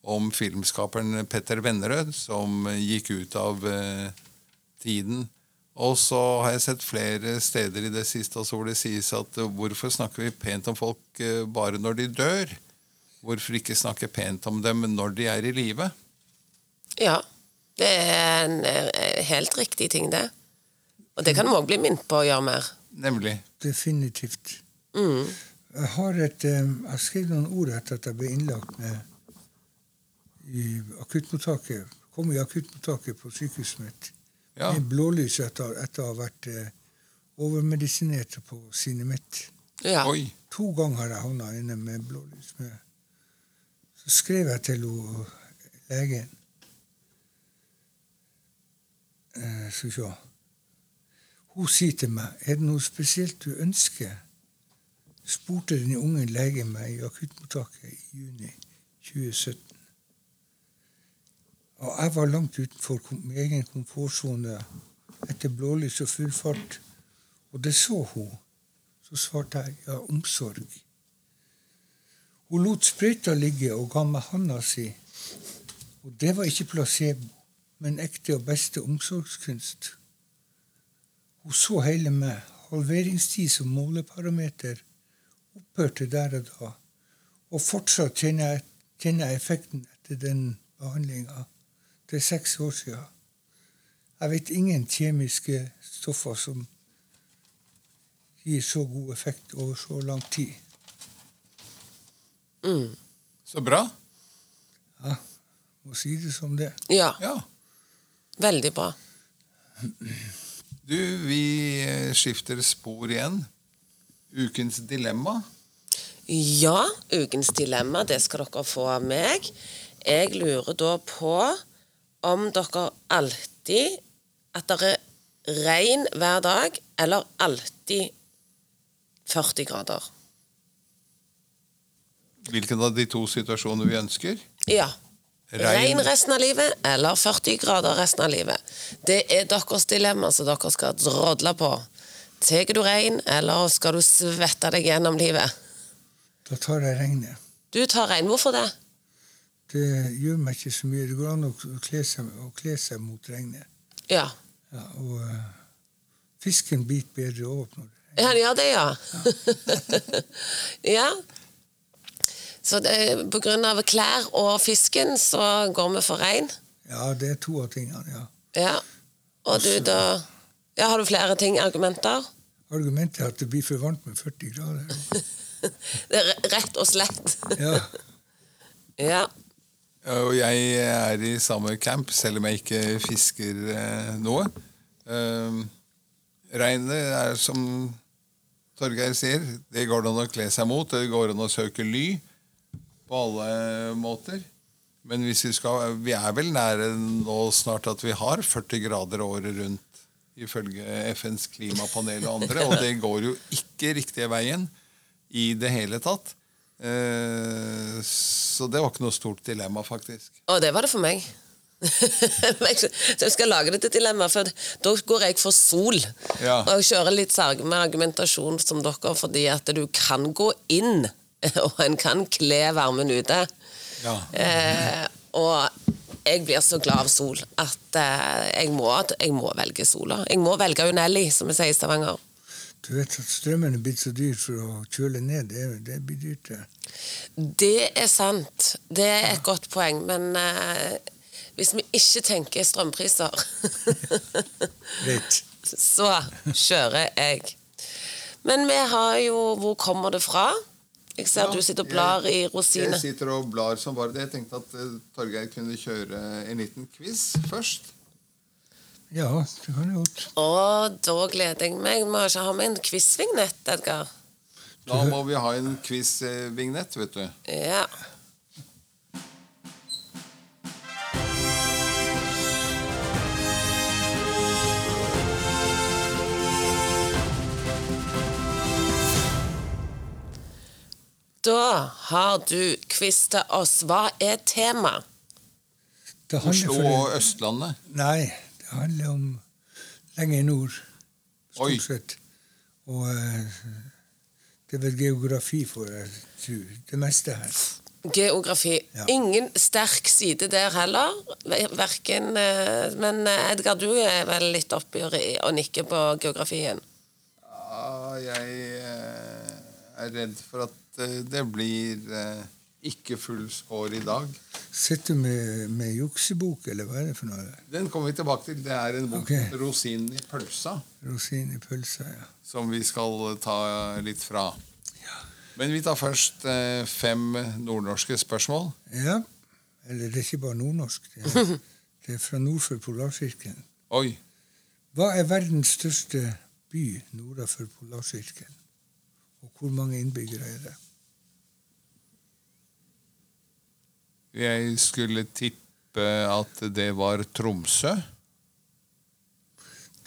Speaker 1: Om filmskaperen Petter Vennerød som gikk ut av eh, tiden. Og så har jeg sett flere steder i det siste også hvor det sies at eh, hvorfor snakker vi pent om folk eh, bare når de dør? Hvorfor ikke snakke pent om dem når de er i live?
Speaker 2: Ja. Det er en eh, helt riktig ting, det. Og det kan vi òg bli minnet på å gjøre mer.
Speaker 1: Nemlig.
Speaker 3: Definitivt.
Speaker 2: Mm.
Speaker 3: Jeg har et, eh, jeg har skrevet noen ord etter at jeg ble innlagt med, i akuttmottaket. Kom i akuttmottaket på sykehuset mitt
Speaker 1: Ja,
Speaker 3: med blålys etter, etter å ha vært eh, overmedisinert på Sinemitt.
Speaker 2: Ja.
Speaker 1: Oi.
Speaker 3: To ganger har jeg havna inne med blålys. Med. Så skrev jeg til ho, legen eh, Skal vi se Hun sier til meg Er det noe spesielt du ønsker? spurte den unge legen meg i akuttmottaket i juni 2017. Og jeg var langt utenfor kom- min egen komfortsone etter blålys og full fart. Og det så hun. Så svarte jeg ja, omsorg. Hun lot sprøyta ligge og ga meg handa si. Og det var ikke placebo, men ekte og beste omsorgskunst. Hun så hele meg, halveringstid som måleparameter, opphørte der og da. Og fortsatt kjenner jeg, kjenner jeg effekten etter den behandlinga. Det er seks år sia. Jeg vet ingen kjemiske stoffer som gir så god effekt over så lang tid.
Speaker 2: Mm.
Speaker 1: Så bra.
Speaker 3: Må si det som det.
Speaker 2: ja.
Speaker 1: Ja.
Speaker 2: Veldig bra.
Speaker 1: Du, vi eh, skifter spor igjen. Ukens dilemma.
Speaker 2: Ja, ukens dilemma, det skal dere få av meg. Jeg lurer da på om dere alltid At det er regn hver dag, eller alltid 40 grader.
Speaker 1: Hvilken av de to situasjonene vi ønsker?
Speaker 2: Ja.
Speaker 1: Regn.
Speaker 2: Regn resten av livet, eller 40 grader resten av livet. Det er deres dilemma som dere skal drodle på. Tar du regn, eller skal du svette deg gjennom livet?
Speaker 3: Da tar jeg regnet.
Speaker 2: Du tar regn. Hvorfor det?
Speaker 3: Det gjør meg ikke så mye. Det går an å kle seg, å kle seg mot regnet.
Speaker 2: Ja.
Speaker 3: Ja, og eh, fisken biter bedre opp når det
Speaker 2: Ja, han gjør det, ja. <laughs> ja. Så det, er på grunn av klær og fisken, så går vi for rein.
Speaker 3: Ja, det er to av tingene, ja.
Speaker 2: Ja. Og du, da ja, Har du flere ting, argumenter?
Speaker 3: Argumentet er at det blir for varmt med 40 grader.
Speaker 2: Det er re- rett og slett. <laughs>
Speaker 3: Ja,
Speaker 2: ja.
Speaker 1: Eh, Og jeg er i samme camp, selv om jeg ikke fisker eh, noe. Eh, regnet er som Torgeir sier, det går det an å kle seg mot. Det går an å søke ly på alle måter. Men hvis vi skal Vi er vel nære nå snart at vi har 40 grader året rundt, ifølge FNs klimapanel og andre, og det går jo ikke riktige veien i det hele tatt. Eh, Så det var ikke noe stort dilemma, faktisk.
Speaker 2: Og det var det for meg. <laughs> så jeg skal lage det til dilemma, for da går jeg for sol.
Speaker 1: Ja.
Speaker 2: Og jeg kjører litt sarg med argumentasjon som dere, fordi at du kan gå inn, <laughs> og en kan kle varmen ute.
Speaker 1: Ja.
Speaker 2: Eh, og jeg blir så glad av sol at eh, jeg, må, jeg må velge sola. Jeg må velge Unelli, som vi sier i Stavanger.
Speaker 3: du vet at strømmen er blitt så dyr for å kjøle ned. Det, det blir dyrt, det.
Speaker 2: Det er sant. Det er et godt poeng. Men eh, hvis vi ikke tenker strømpriser, <laughs>
Speaker 3: Greit.
Speaker 2: så kjører jeg. Men vi har jo Hvor kommer det fra? Jeg ser at du sitter og blar i
Speaker 1: Jeg
Speaker 2: rosiner.
Speaker 1: sitter og blar som bare det. Jeg tenkte at eh, Torgeir kunne kjøre en liten quiz først.
Speaker 3: Ja, det kan jeg godt.
Speaker 2: Å, da gleder jeg meg. Vi har ikke ha med en quizvignett, Edgar.
Speaker 1: Da må vi ha en quiz-vignett, vet du.
Speaker 2: Ja. Da har du quiz til oss. Hva er tema?
Speaker 3: Det handler
Speaker 1: Oslo og
Speaker 3: for,
Speaker 1: Østlandet.
Speaker 3: nei, det handler om lenger nord, stort
Speaker 1: Oi.
Speaker 3: sett. Og eh, det er vel geografi for jeg tror. Det meste her.
Speaker 2: Geografi.
Speaker 3: Ja.
Speaker 2: Ingen sterk side der heller. Ver- Verken eh, Men eh, Edgar, du er vel litt oppi og ri- og nikker på geografien?
Speaker 1: Ja, jeg eh, er redd for at eh, det blir eh, ikke full score i dag.
Speaker 3: Sitter du med, med juksebok, eller hva er det for noe?
Speaker 1: Den kommer vi tilbake til. Det er en bok
Speaker 3: Ok.
Speaker 1: Rosinen i pølsa
Speaker 3: Rosin i pølsa, ja.
Speaker 1: som vi skal ta litt fra. Men vi tar først eh, fem nordnorske spørsmål.
Speaker 3: Ja. Eller det er ikke bare nordnorsk. Det er, det er fra nord for Polarsirkelen.
Speaker 1: Oi.
Speaker 3: Hva er verdens største by nord for Polarsirkelen? Og hvor mange innbyggere er det?
Speaker 1: Jeg skulle tippe at det var Tromsø.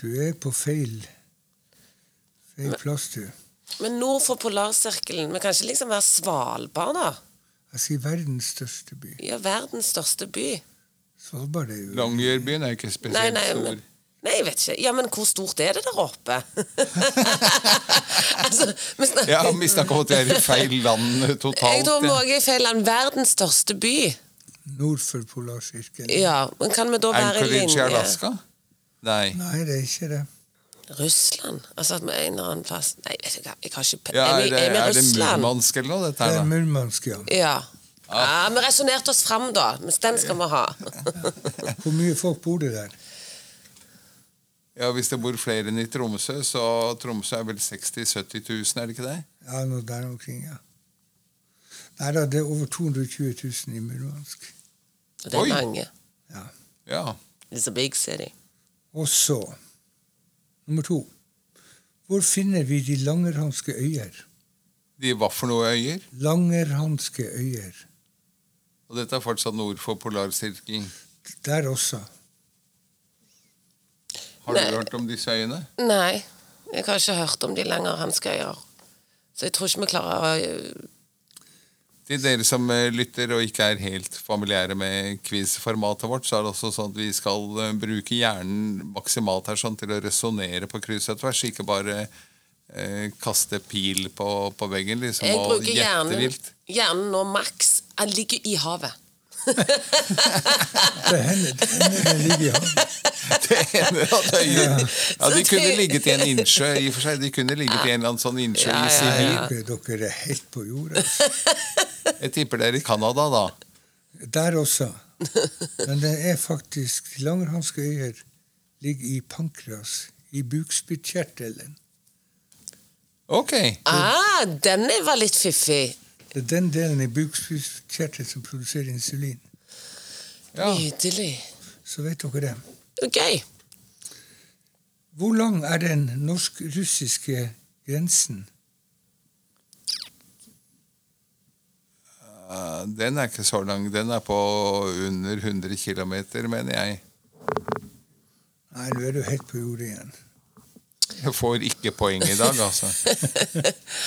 Speaker 3: Du er på feil, feil plass, du.
Speaker 2: Men nord for polarsirkelen, vi kan ikke liksom være Svalbard, da?
Speaker 3: Jeg sier verdens største by.
Speaker 2: Ja, verdens største by.
Speaker 3: Svalbard er jo
Speaker 1: Longyearbyen er ikke spesielt
Speaker 2: Nei, nei,
Speaker 1: stor.
Speaker 2: men, nei, jeg vet ikke. Ja, men hvor stort er det der oppe? <laughs> altså, vi snakker-
Speaker 1: Jeg har mistanke om at jeg er i feil land
Speaker 2: <laughs> jeg tror
Speaker 1: totalt. ja.
Speaker 2: Norge er i feil land. Verdens største by.
Speaker 3: nord for Polarsirkelen.
Speaker 2: Ja, men kan vi da være i
Speaker 1: Anchorage i
Speaker 2: linje?
Speaker 1: Alaska? Nei.
Speaker 3: Nei, det er ikke det.
Speaker 2: Russland? Altså at vi er en eller annen plass Nei, vet du hva, jeg har ikke pe-
Speaker 1: Ja,
Speaker 2: Er
Speaker 1: er,
Speaker 2: vi-
Speaker 1: det,
Speaker 2: er vi i
Speaker 1: er det
Speaker 2: Russland?
Speaker 1: Murmansk eller noe, dette
Speaker 3: Det er
Speaker 1: her, da?
Speaker 3: Murmansk, ja.
Speaker 2: Ja.
Speaker 1: Ah.
Speaker 2: ja vi resonnerte oss fram, da. Men den skal vi ha.
Speaker 3: Hvor mye folk bor det der?
Speaker 1: Ja, Hvis det bor flere enn i Tromsø, så Tromsø er vel 60 000-70 000, er det ikke det?
Speaker 3: Ja, noe der omkring, ja. Nei da, det er over 220 000 i Murmansk.
Speaker 2: Og det er
Speaker 1: Oi.
Speaker 2: mange.
Speaker 1: Ja.
Speaker 2: It's a big city.
Speaker 3: Og så, nummer to. Hvor finner vi de langerhanske øyer?
Speaker 1: De var for noe øyer.
Speaker 3: Langerhanske øyer.
Speaker 1: Og dette er fortsatt nord for polarsirkelen.
Speaker 3: Der også.
Speaker 1: Har du
Speaker 2: Nei.
Speaker 1: hørt om disse øyene?
Speaker 2: Nei, jeg har ikke hørt om de lenger, hans greier. Så jeg tror ikke vi klarer å øh,
Speaker 1: Til dere som eh, lytter og ikke er helt familiære med quiz-formatet vårt, så er det også sånn at vi skal eh, bruke hjernen maksimalt her sånn til å resonnere på kryss og tvers, ikke bare eh, kaste pil på, på veggen liksom,
Speaker 2: Jeg
Speaker 1: og
Speaker 2: bruker
Speaker 1: gjette
Speaker 2: hjernen,
Speaker 1: vilt.
Speaker 2: hjernen nå maks. Den ligger i havet.
Speaker 3: Det hender det hender den ligger i havn.
Speaker 1: <laughs> Det ene av det øyet. Ja, de
Speaker 2: <laughs> Så
Speaker 1: kunne
Speaker 2: det-
Speaker 1: ligget i en innsjø i og for seg. De kunne ligget i en eller annen sånn innsjø
Speaker 2: Ja,
Speaker 1: i
Speaker 2: ja,
Speaker 1: Sibir.
Speaker 2: ja.
Speaker 3: Dere, dere er helt på jorda.
Speaker 1: Jeg tipper det er i Canada, da.
Speaker 3: Der også. Men det er faktisk de langerhanske øyer ligger i pankras, i bukspyttkjertelen.
Speaker 1: Ok.
Speaker 2: Ah, den er- var litt fiffig.
Speaker 3: Det er den delen i bukspyttkjertelen som produserer insulin.
Speaker 1: Ja.
Speaker 2: Nydelig.
Speaker 3: Så vet dere det.
Speaker 2: Og Gøy.
Speaker 3: Hvor lang er den norsk-russiske grensen?
Speaker 1: Eh, Den er ikke så lang. Den er på under 100 km, mener jeg.
Speaker 3: Nei, nå er du helt på jordet igjen.
Speaker 1: Jeg får ikke poeng i dag,
Speaker 2: <laughs>
Speaker 1: altså.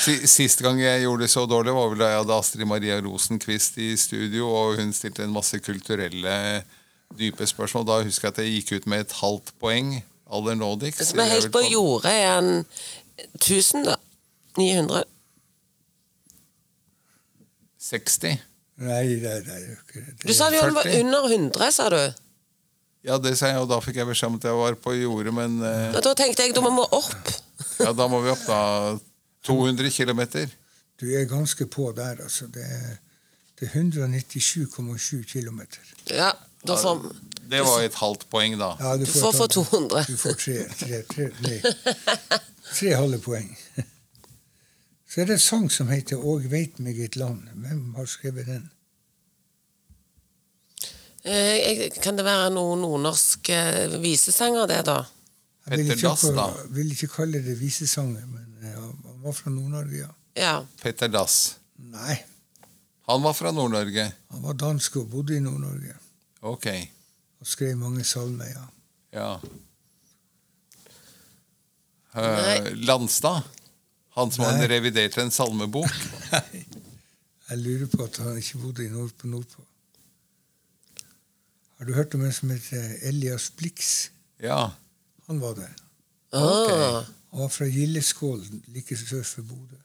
Speaker 1: Si- Sist gang jeg gjorde det så dårlig, var vel da jeg hadde Astrid Maria Rosenquist i studio, og hun stilte en masse kulturelle, dype spørsmål. Da husker jeg at jeg gikk ut med et halvt poeng. Aller nådigst.
Speaker 2: Så vi er helt på jordet er en 1000, da. 900.
Speaker 1: 60.
Speaker 3: Nei, nei, nei, det er jo ikke det.
Speaker 2: Du sa jo den var
Speaker 1: 40.
Speaker 2: under 100, sa du.
Speaker 1: Ja, det sa jeg, og da fikk jeg beskjed om at jeg var på jordet, men eh,
Speaker 2: Og da tenkte jeg da må vi opp.
Speaker 1: ja, da må vi opp, da. 200 km.
Speaker 3: Du er ganske på der, altså. Det er, det er 197,7 km.
Speaker 2: Ja, da får vi
Speaker 1: Det var et halvt poeng, da.
Speaker 3: Ja,
Speaker 2: Du får få 200.
Speaker 3: Du får tre, tre, tre, nei, tre halve poeng. Så er det en sang som heter 'Åg veit meg et land'. Hvem har skrevet den?
Speaker 2: Eh, jeg- Kan det være noen nordnorske eh, visesanger, det, da?
Speaker 3: Jeg vil
Speaker 1: Petter
Speaker 3: ikke,
Speaker 1: Dass, da.
Speaker 3: vil ikke kalle det visesanger, men eh, han var fra Nord-Norge, ja.
Speaker 2: Ja.
Speaker 1: Petter Dass.
Speaker 3: Nei,
Speaker 1: Han var fra Nord-Norge.
Speaker 3: han var dansk og bodde i Nord-Norge.
Speaker 1: Ok.
Speaker 3: Og skrev mange salmer, ja.
Speaker 1: Ja. Eh,
Speaker 2: Nei.
Speaker 1: Landstad. Han som
Speaker 3: Nei.
Speaker 1: hadde revidert en salmebok.
Speaker 3: Jeg lurer på at han ikke bodde i nord på nordpå. Har du hørt om en som heter Elias Blix?
Speaker 1: Ja.
Speaker 3: Han var det.
Speaker 2: Ah,
Speaker 3: Han var fra Gildeskålen, like sør for Bodø.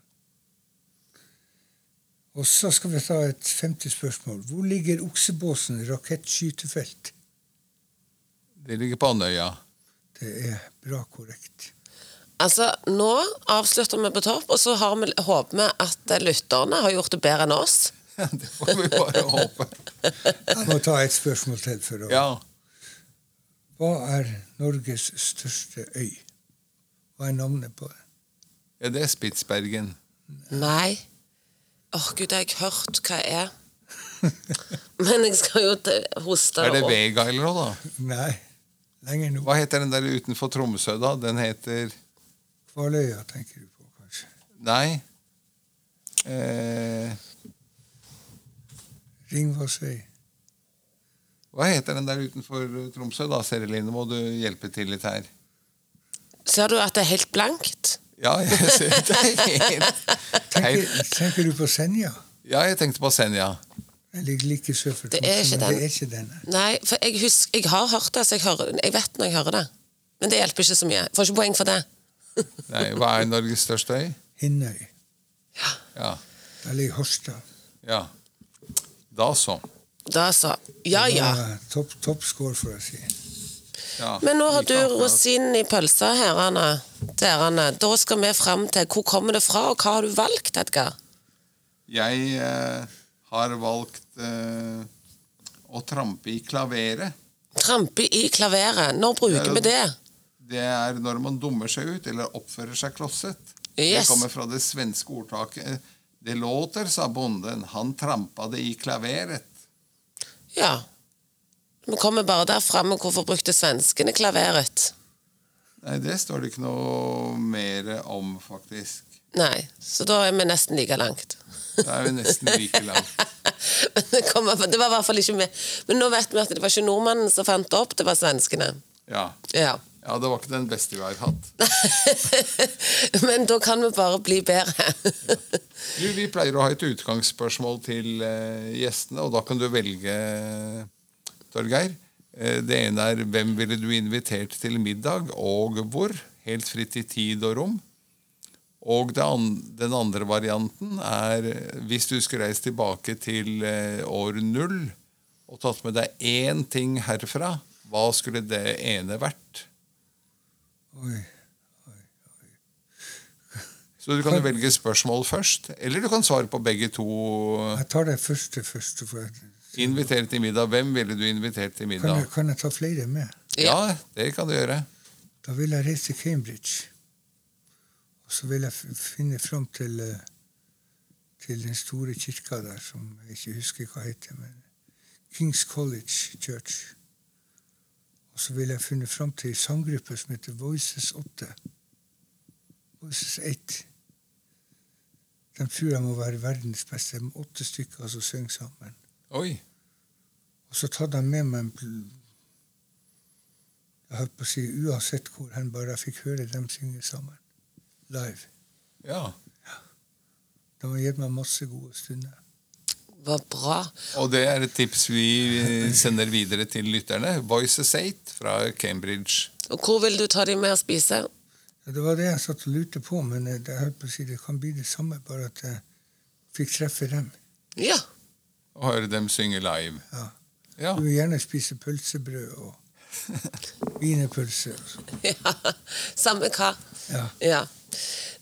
Speaker 3: Og så skal vi ta et femte spørsmål. Hvor ligger Oksebåsen rakettskytefelt?
Speaker 1: Det ligger på Andøya. <laughs>
Speaker 3: Det er bra korrekt.
Speaker 2: Altså, nå avslutter vi på topp, og så har vi, håper vi at eh, lytterne har gjort det bedre enn oss.
Speaker 1: Det får vi bare håpe.
Speaker 3: Jeg må ta et spørsmål til. for å...
Speaker 1: Ja.
Speaker 3: Hva er Norges største øy? Hva er navnet på det?
Speaker 1: ja det er Spitsbergen.
Speaker 2: Nei. Åh, gud, det har jeg ikke hørt hva jeg er. <laughs> Men jeg skal jo til- hoste
Speaker 1: Er det
Speaker 2: og-
Speaker 1: Vega eller noe, da?
Speaker 3: Nei, lenger nå.
Speaker 1: Hva heter den der utenfor Tromsø, da? Den heter
Speaker 3: Kvaløya tenker du på, kanskje.
Speaker 1: Nei. Eh,
Speaker 3: Ringvassøy.
Speaker 1: hva heter den der utenfor Tromsø, da, Seri Line? Må du hjelpe til litt her?
Speaker 2: Ser du at det er helt blankt?
Speaker 1: Ja, jeg ser det er helt
Speaker 3: <laughs> Tenker,
Speaker 1: Hei.
Speaker 3: tenker du på Senja?
Speaker 1: Ja, jeg tenkte på Senja.
Speaker 3: Den ligger like sør for
Speaker 2: Det er
Speaker 3: Tromsø,
Speaker 2: ikke
Speaker 3: men
Speaker 2: den.
Speaker 3: Det er ikke den. nei.
Speaker 2: Nei, for jeg husker Jeg har hørt det, så jeg, hører, jeg vet når jeg hører det. Men det hjelper ikke så mye. Jeg Får ikke poeng for det.
Speaker 1: Nei, hva er Norges største øy?
Speaker 3: Hinnøy.
Speaker 1: Ja.
Speaker 3: Der ligger Horstad.
Speaker 1: ja. Da så.
Speaker 2: Da så. Ja ja.
Speaker 3: Ja, Topp top score, for å si.
Speaker 1: Ja.
Speaker 2: Men nå har
Speaker 1: Like
Speaker 2: du
Speaker 1: akkurat.
Speaker 2: rosinen i pølsa, herrene. Derene. Da skal vi fram til hvor kommer det fra, og hva har du valgt, Edgar?
Speaker 1: Jeg eh, har valgt eh, å trampe i klaveret.
Speaker 2: Trampe i klaveret. Når bruker
Speaker 1: Ja.
Speaker 2: vi det?
Speaker 1: Det er når man dummer seg ut eller oppfører seg klosset. Det
Speaker 2: Yes.
Speaker 1: kommer fra det svenske ordtaket eh, Det låter, sa bonden, han trampa det i klaveret.
Speaker 2: Ja. Vi kommer bare der fram med hvorfor brukte svenskene klaveret.
Speaker 1: Nei, det står det ikke noe mer om, faktisk.
Speaker 2: Nei, så da er vi nesten like langt. <laughs>
Speaker 1: Da er vi nesten like langt.
Speaker 2: Men det, kommer, det var i hvert fall ikke med. Men nå vet vi at det var ikke nordmannen som fant det opp, det var svenskene.
Speaker 1: Ja.
Speaker 2: Ja. <laughs>
Speaker 1: ja, det var ikke den beste vi har hatt.
Speaker 2: Men da kan vi bare bli bedre. <laughs>
Speaker 1: Du, vi pleier å ha et utgangsspørsmål til eh, gjestene, og da kan du velge, Torgeir. Eh, det ene er hvem ville du invitert til middag, og hvor? Helt fritt i tid og rom. Og det an den andre varianten er eh, hvis du skulle reist tilbake til eh, år null og tatt med deg én ting herfra, hva skulle det ene vært?
Speaker 3: Oi.
Speaker 1: Så du kan jo velge spørsmål først, eller du kan svare på begge to.
Speaker 3: Jeg tar det første først. For jeg,
Speaker 1: Inviter til middag. Hvem ville du invitert til
Speaker 3: kan,
Speaker 1: middag?
Speaker 3: jeg, kan jeg ta flere med?
Speaker 1: Ja, det kan du gjøre.
Speaker 3: Da vil jeg reise til Cambridge. Og så vil jeg f- finne fram til, eh, til den store kirka der, som jeg ikke husker hva heter. men Kings College Church. Og så vil jeg finne fram til en sanggruppe som heter Voices 8. Voices 8. De tror jeg må være verdens beste. De er åtte stykker som synger sammen.
Speaker 1: Oi.
Speaker 3: Og så tar de med meg en pl- Jeg holdt på å si uansett hvor hen, bare jeg fikk høre dem synge sammen. Live.
Speaker 1: Ja.
Speaker 3: De har gitt meg masse gode stunder.
Speaker 2: Var bra.
Speaker 1: Og det er et tips vi sender videre til lytterne. Voices 8 fra Cambridge.
Speaker 2: Og hvor vil du ta de med og spise?
Speaker 3: Ja, det var det jeg satt og lurte på, men eh, det, jeg holdt på å si, det kan bli det samme, bare at jeg fikk treffe dem.
Speaker 2: Ja.
Speaker 1: Og høre dem synge live.
Speaker 3: Ja.
Speaker 1: Ja.
Speaker 3: Du vil gjerne spise pølsebrød og wienerpølse. og sånt.
Speaker 2: ja. Samme hva.
Speaker 3: Ja.
Speaker 2: Ja.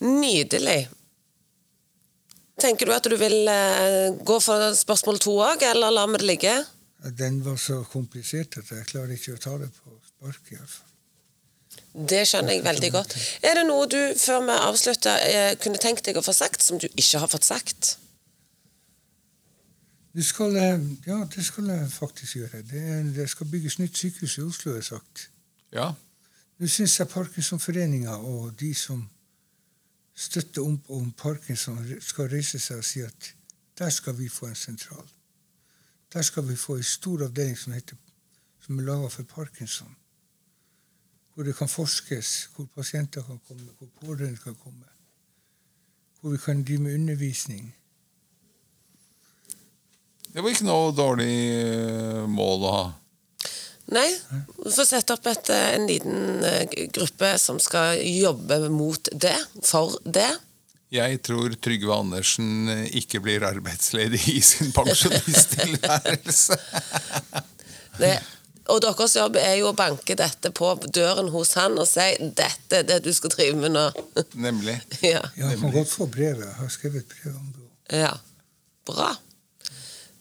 Speaker 2: Nydelig. Tenker du at du vil eh, gå for spørsmål to òg, eller lar vi det ligge?
Speaker 3: Den var så komplisert at jeg klarer ikke å ta det på sparket. altså. i hvert fall.
Speaker 2: Det skjønner jeg veldig godt. Er det noe du, før vi avslutter, eh, kunne tenkt deg å få sagt som du ikke har fått sagt?
Speaker 3: Du skal, eh, ja, det skal jeg faktisk gjøre. Det, det skal bygges nytt sykehus i Oslo, er sagt.
Speaker 1: ja.
Speaker 3: Nå syns jeg Parkinsonforeninga og de som støtter om, om Parkinson, skal reise seg og si at der skal vi få en sentral. Der skal vi få en stor avdeling som, heter, som er laga for Parkinson. Hvor det kan forskes, hvor pasienter kan komme, hvor pårørende kan komme. Hvor vi kan drive med undervisning.
Speaker 1: Det var ikke noe dårlig eh, mål å ha.
Speaker 2: Nei. Vi får sette opp et, eh, en liten eh, g- gruppe som skal jobbe mot det, for det.
Speaker 1: Jeg tror Trygve Andersen ikke blir arbeidsledig i sin <laughs> pensjonisttilværelse.
Speaker 2: det. Og deres jobb er jo å banke dette på døren hos han og si 'dette er det du skal drive med nå'. <laughs>
Speaker 1: Nemlig.
Speaker 2: ja.
Speaker 3: Ja, jeg kan godt få brevet. Jeg har skrevet brev om det.
Speaker 2: ja. Bra.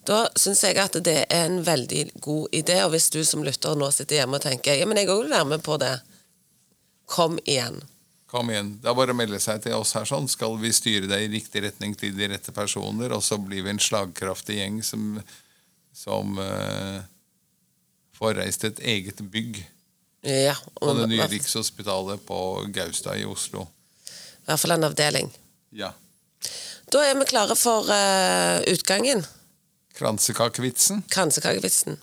Speaker 2: Da syns jeg at det er en veldig god idé, og hvis du som lytter nå sitter hjemme og tenker 'ja, men jeg òg vil være med på det', kom igjen.
Speaker 1: Kom igjen. Det er bare å melde seg til oss her, sånn. Skal vi styre deg i riktig retning til de rette personer, og så blir vi en slagkraftig gjeng som, som eh, får reist et eget bygg
Speaker 2: Ja,
Speaker 1: på
Speaker 2: og
Speaker 1: det
Speaker 2: i
Speaker 1: nye
Speaker 2: hvert-
Speaker 1: Rikshospitalet på Gaustad i Oslo.
Speaker 2: i hvert fall en avdeling.
Speaker 1: Ja.
Speaker 2: Da er vi klare for eh, utgangen.
Speaker 1: Kransekakevitsen.
Speaker 2: Kransekakevitsen.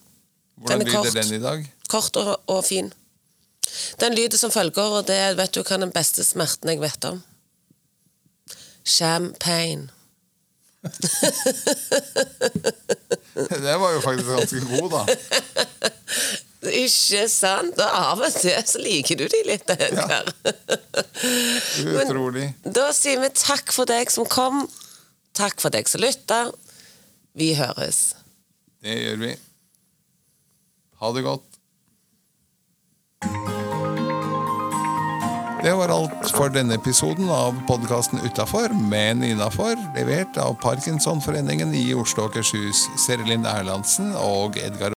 Speaker 1: Hvordan
Speaker 2: Den er
Speaker 1: lyder
Speaker 2: kort.
Speaker 1: den i
Speaker 2: <laughs>
Speaker 1: dag?
Speaker 2: Kort og, og fin. Den lyder som følger, og det er, vet du hva den beste smerten jeg vet om? Champagne.
Speaker 1: Den var jo faktisk ganske god, da.
Speaker 2: Ikke sant? Og av og til så liker du de litt, Edgar. <laughs> Men-
Speaker 1: Utrolig.
Speaker 2: Da sier vi takk for deg som kom. Takk for deg som lytter. Vi høres.
Speaker 1: Det gjør vi. Ha det godt. Det var alt for denne episoden av podkasten Utafor, men innafor, levert av Parkinsonforeningen i Oslo og Akershus, Serelin Erlandsen og Edgar